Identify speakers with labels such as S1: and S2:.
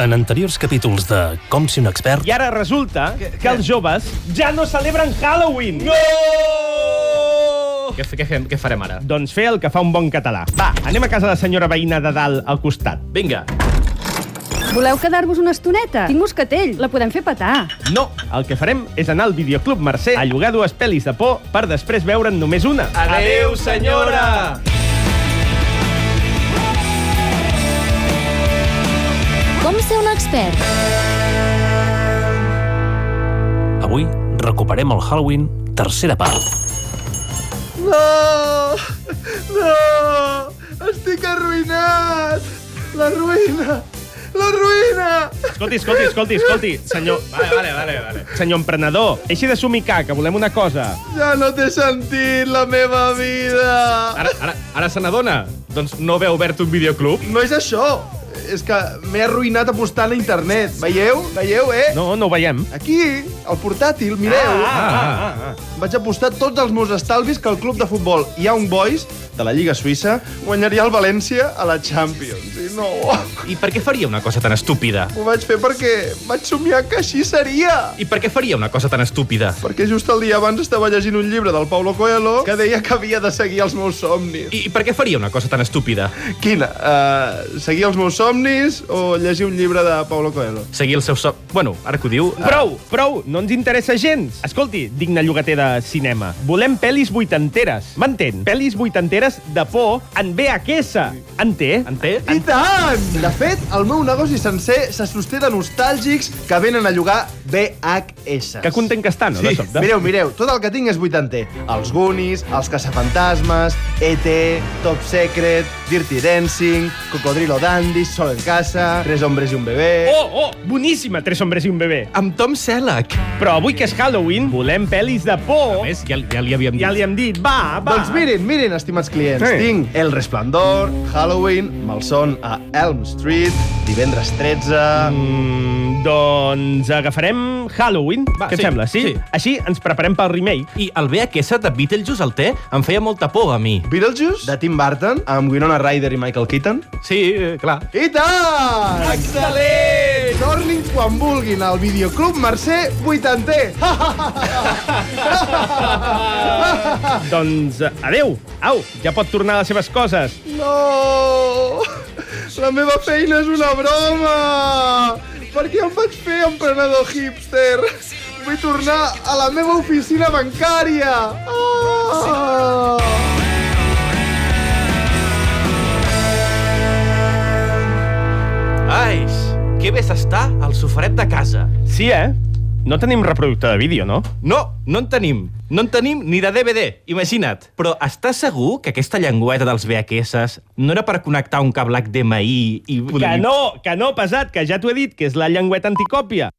S1: En anteriors capítols de Com si un expert...
S2: I ara resulta que, els joves ja no celebren Halloween. No!
S3: Què, què, fem, què farem ara?
S2: Doncs fer el que fa un bon català. Va, anem a casa de la senyora veïna de dalt al costat.
S3: Vinga.
S4: Voleu quedar-vos una estoneta? Tinc moscatell, la podem fer petar.
S2: No, el que farem és anar al videoclub Mercè a llogar dues pel·lis de por per després veure'n només una.
S3: Adeu, senyora!
S5: Com ser un expert?
S1: Avui recuperem el Halloween, tercera part.
S6: No! No! Estic arruïnat! La ruïna! La ruïna!
S2: Escolti, escolti, escolti, escolti, senyor...
S3: Vale, vale, vale. vale.
S2: Senyor emprenedor, deixi de somicar, que volem una cosa.
S6: Ja no té sentit la meva vida!
S3: Ara, ara, ara se n'adona? Doncs no haver obert un videoclub?
S6: No és això! És que m'he arruïnat apostant a internet. Veieu? Veieu, eh?
S2: No, no ho veiem.
S6: Aquí, al portàtil,
S3: Ah,
S6: mireu. Vaig apostar tots els meus estalvis que el club de futbol Young Boys de la Lliga Suïssa guanyaria el València a la Champions. I no...
S3: ah. I per què faria una cosa tan estúpida?
S6: Ho vaig fer perquè vaig somiar que així seria.
S3: I per què faria una cosa tan estúpida?
S6: Perquè just el dia abans estava llegint un llibre del Paulo Coelho que deia que havia de seguir els meus somnis.
S3: I, I per què faria una cosa tan estúpida?
S6: Quina? Uh, seguir els meus somnis o llegir un llibre de Paulo Coelho?
S3: Seguir el seu so... Bueno, ara que ho diu... eh.
S2: Prou, prou, no ens interessa gens. Escolti, digne llogater de cinema, volem pel·lis vuitanteres. M'entén? Pel·lis vuitanteres de por en VHS. En té?
S3: En té?
S6: I tant! De fet, el meu negoci sencer se sosté de nostàlgics que venen a llogar VHS.
S2: Que content que està, no? De
S3: Sí.
S2: sobte.
S6: Mireu, mireu, tot el que tinc és vuitanter. Els Goonies, els caçafantasmes, E.T., Top Secret, Dirty Dancing, Cocodrilo Dandy, Sol en casa, Tres hombres i un bebè...
S2: Oh, oh, boníssima, Tres hombres i un bebè.
S3: Amb Tom Selleck.
S2: Però avui que és Halloween, volem pel·lis de
S3: A
S2: por.
S3: més, ja, ja li havíem dit.
S2: Ja li hem dit, va, va.
S6: Doncs mirin, mirin, estimats clients.
S2: Sí.
S6: Tinc El Resplendor, Halloween, Malson a Elm Street, divendres 13... Mm.
S2: Mm, doncs agafarem Halloween.
S3: Va,
S2: Què et
S3: sí,
S2: sembla, sí?
S3: sí.
S2: Així ens preparem pel remake.
S3: I el VHS de Beetlejuice al té em feia molta por a mi.
S6: Beetlejuice, de Tim Burton, amb Winona Ryder i Michael Keaton.
S3: Sí, eh, clar.
S6: I tant! Excel·lent! Tornin quan vulguin al videoclub Mercè 80
S2: Doncs eh, adeu. Au, ja pot tornar a les seves coses.
S6: No! La meva feina és una broma! Per què em vaig fer emprenedor hipster? Vull tornar a la meva oficina bancària! Ah!
S3: Ai, que bé s'està al sofret de casa.
S2: Sí, eh? No tenim reproductor de vídeo, no?
S3: No, no en tenim. No en tenim ni de DVD, imagina't. Però estàs segur que aquesta llengüeta dels VHS no era per connectar un cable HDMI i...
S2: Que no, que no, pesat, que ja t'ho he dit, que és la llengüeta anticòpia.